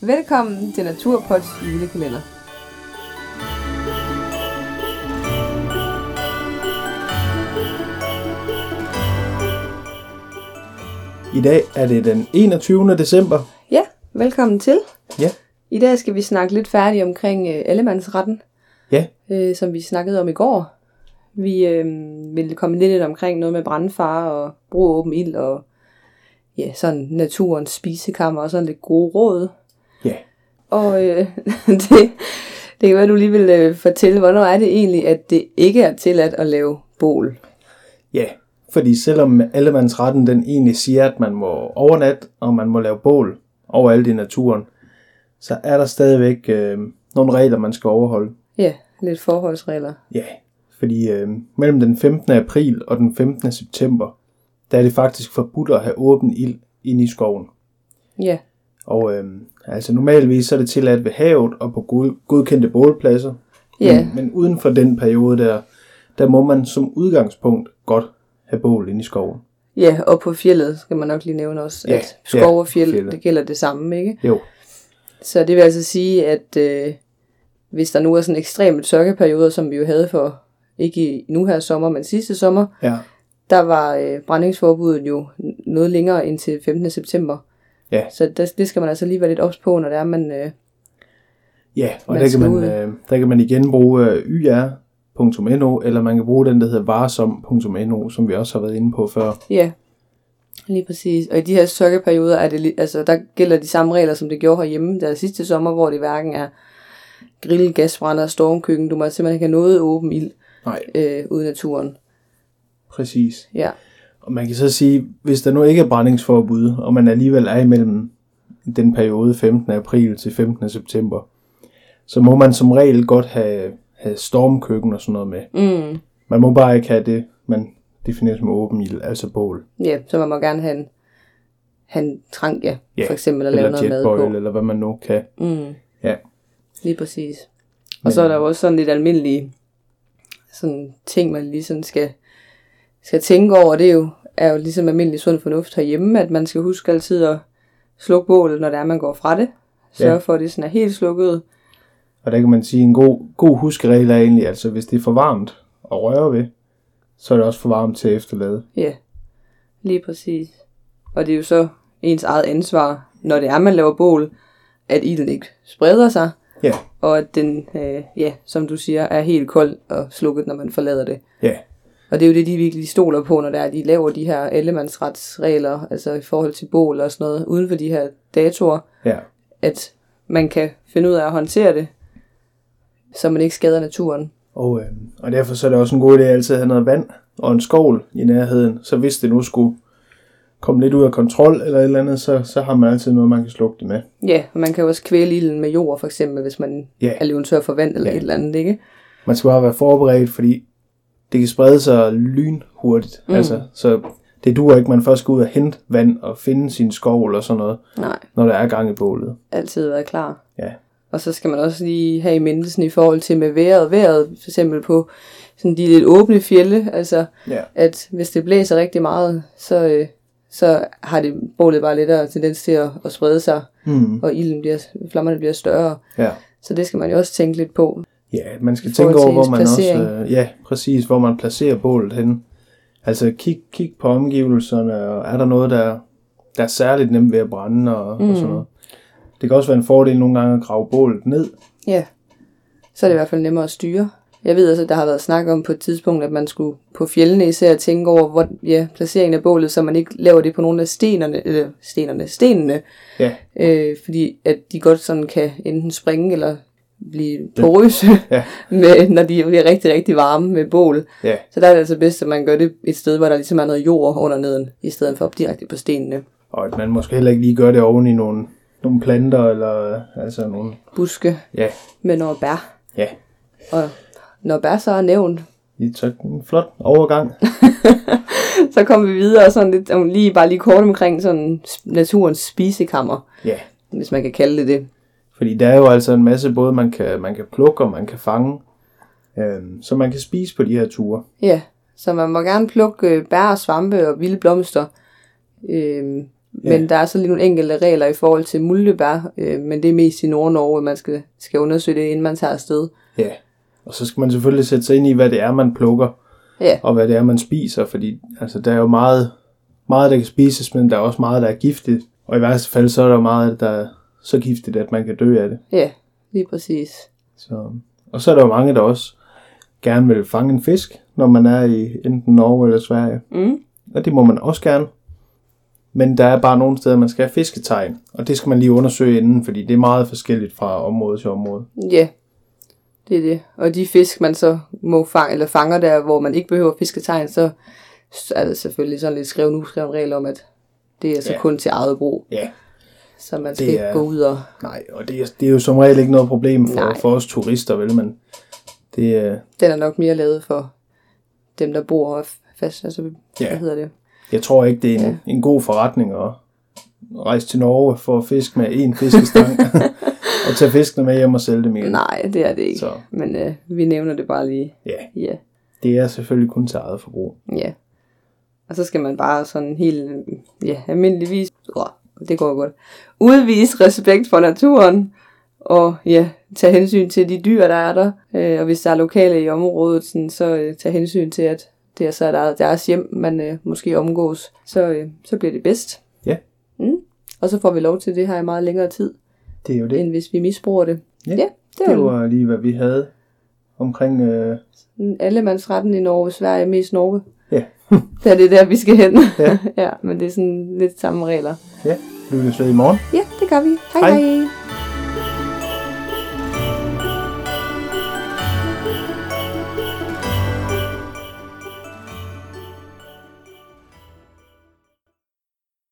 Velkommen til Naturpods julekalender. I dag er det den 21. december. Ja, velkommen til. Ja. I dag skal vi snakke lidt færdigt omkring øh, allemandsretten, Ja. øh, som vi snakkede om i går. Vi øh, ville komme lidt lidt omkring noget med brandfare og brug af åben ild og ja, sådan naturens spisekammer og sådan lidt gode råd. Ja. Og øh, det, det kan være, du lige vil øh, fortælle, hvornår er det egentlig, at det ikke er tilladt at lave bål? Ja, fordi selvom allemandsretten den egentlig siger, at man må overnatte, og man må lave bål overalt i naturen, så er der stadigvæk øh, nogle regler, man skal overholde. Ja, lidt forholdsregler. Ja, fordi øh, mellem den 15. april og den 15. september, der er det faktisk forbudt at have åben ild inde i skoven. Ja, Og øh, altså normalvis så er det tilladt ved havet og på god, godkendte bålpladser. Ja. Men, men uden for den periode der, der må man som udgangspunkt godt have bål inde i skoven. ja og på fjellet skal man nok lige nævne også, Ja, at skov ja, og fjeld, fjeldet. det gælder det samme, ikke? Jo, Så det vil altså sige, at øh, hvis der nu er sådan ekstreme tørkeperioder, som vi jo havde for, ikke i, nu her sommer, men sidste sommer, ja, der var øh, brændingsforbuddet jo n- noget længere end til 15. september. Ja. Så der, det skal man altså lige være lidt ops på, når det er, man... Øh, ja og Man der skal kan, man, ud. øh, der kan man igen bruge øh, yr.no, eller man kan bruge den, der hedder varsom.no, som vi også har været inde på før. ja, lige præcis. Og i de her tørkeperioder, er det, li- altså, der gælder de samme regler, som det gjorde herhjemme der sidste sommer, hvor det hverken er grill, gasbrænder, stormkøkken. Du må simpelthen ikke have noget åben ild Nej, øh, ude i naturen. præcis. Ja. Og man kan så sige, hvis der nu ikke er brændingsforbud, og man alligevel er imellem den periode 15. april til 15. september, så må man som regel godt have, have stormkøkken og sådan noget med. Mm. Man må bare ikke have det, man definerer som åben ild, altså bål. Ja, så man må gerne have en, have en trang, ja, Ja, for eksempel at lave Eller noget mad på. jetboil, eller hvad man nu kan. Mm. Ja. Lige præcis. Og Men- så er der jo også sådan lidt almindelige sådan ting, man lige sådan skal, skal tænke over. Det er jo, er jo ligesom almindelig sund fornuft herhjemme, at man skal huske altid at slukke bålet, når det er, man går fra det. Sørge Ja. for, at det sådan er helt slukket. Og der kan man sige, en god, god huskeregel er egentlig, altså hvis det er for varmt at røre ved, så er det også for varmt til at efterlade. Ja, lige præcis. Og det er jo så ens eget ansvar, når det er, man laver bål, at ilden ikke spreder sig, Ja, og at den, øh, ja, som du siger, er helt kold og slukket, når man forlader det. ja, Og det er jo det, de virkelig stoler på, når det er, de laver de her allemandsretsregler, altså i forhold til bål og sådan noget, uden for de her datoer, ja. at man kan finde ud af at håndtere det, så man ikke skader naturen. Og, øh, og derfor så er det også en god idé at altid have noget vand og en skovl i nærheden, så hvis det nu skulle komme lidt ud af kontrol eller et eller andet, så, så har man altid noget, man kan slukke det med. Ja, og man kan jo også kvæle ilden med jord, for eksempel, hvis man Ja. er løven tør for vand eller Ja. et eller andet, ikke? Man skal bare være forberedt, fordi det kan sprede sig lynhurtigt. Mm. Mm. Altså, så det duer ikke, man først skal ud og hente vand og finde sin skovl og sådan noget, Nej, når der er gang i bålet. altid være klar. Ja. Og så skal man også lige have i mindelsen i forhold til med vejret. Vejret, for eksempel på sådan de lidt åbne fjelle, altså Ja. at hvis det blæser rigtig meget, så, øh, så har det bålet bare lettere tendens til at, at sprede sig, Mm. og ilden bliver, flammerne bliver større. ja. Så det skal man jo også tænke lidt på. Ja, man skal I forhold tænke til over, hvor ens man placering. også... Øh, ja, præcis, hvor man placerer bålet henne. Altså, kig, kig på omgivelserne, og er der noget, der, der er særligt nemt ved at brænde og, mm. og sådan noget. Det kan også være en fordel nogle gange at grave bålet ned. Ja, så er det i hvert fald nemmere at styre. Jeg ved også, at der har været snak om på et tidspunkt, at man skulle på fjellene især tænke over hvor, ja, placeringen af bålet, så man ikke laver det på nogle af stenerne, eller stenerne, stenene, Ja, øh, fordi at de godt sådan kan enten springe eller blive porøse, Ja. med, når de bliver rigtig, rigtig varme med bål. ja, Så der er det altså bedst, at man gør det et sted, hvor der ligesom er noget jord under neden, i stedet for op direkte på stenene. og at man måske heller ikke lige gør det oven i nogle, nogle planter, eller øh, altså nogle... Buske Ja, med noget bær. ja. Og når bær så er nævnt, Det er så en flot overgang. så kommer vi videre sådan lidt, om lige, bare lige kort omkring sådan s- naturens spisekammer, ja, hvis man kan kalde det det. fordi der er jo altså en masse både, man kan, man kan plukke og man kan fange, øhm, så man kan spise på de her ture. Ja, så man må gerne plukke øh, bær og svampe og vilde blomster. Øhm, Men der er så lige nogle enkelte regler i forhold til muldebær, øh, men det er mest i Nord-Norge, man skal, skal undersøge det, inden man tager afsted. Ja, og så skal man selvfølgelig sætte sig ind i, hvad det er, man plukker, Ja. og hvad det er, man spiser, fordi altså, der er jo meget, meget, der kan spises, men der er også meget, der er giftigt. Og i værste fald, så er der jo meget, der er så giftigt, at man kan dø af det. Ja, lige præcis. Så, og så er der jo mange, der også gerne vil fange en fisk, når man er i enten Norge eller Sverige. Mm. Og det må man også gerne. Men der er bare nogle steder, man skal have fisketegn, og det skal man lige undersøge inden, fordi det er meget forskelligt fra område til område. Ja, det er det. Og de fisk, man så må fange, eller fanger der, hvor man ikke behøver fisketegn, så er det selvfølgelig sådan lidt skrevet uskrevet regel om, at det er så Ja. ja. kun til eget brug. Ja, Så man skal Det ikke er- gå ud og... nej, og det er, det er jo som regel ikke noget problem for, Nej. for os turister, vel, men det øh, er... Den er nok mere lavet for dem, der bor og fast... Altså, ja. Ja. hvad hedder det? Jeg tror ikke, det er en, ja. Ja. en god forretning at rejse til Norge for at fiske med en fiskestang, og tage fiskene med hjem og sælge dem igen. Nej, det er det ikke. Så. Så. Men øh, vi nævner det bare lige. Ja, Ja, det er selvfølgelig kun til eget forbrug. ja. Og så skal man bare sådan helt, øh, ja, almindeligvis, Åh, det går godt, udvise respekt for naturen, og ja, tage hensyn til de dyr, der er der. Øh, og hvis der er lokale i området, sådan, så øh, tage hensyn til, at det er så der, deres hjem, man øh, måske omgås. Så, øh, så bliver det bedst. Ja. Mm. Og så får vi lov til det her i meget længere tid, Det er jo det. end hvis vi misbruger det. Ja, ja det er Det jo var lige, hvad vi havde omkring... Øh, allemandsretten i Norge, Sverige, mest Norge. ja, Det er det der, vi skal hen. Ja. Ja. ja, men det er sådan lidt samme regler. ja. Lyttes ved i morgen. Ja, det gør vi. Hej Hej. hej. hej.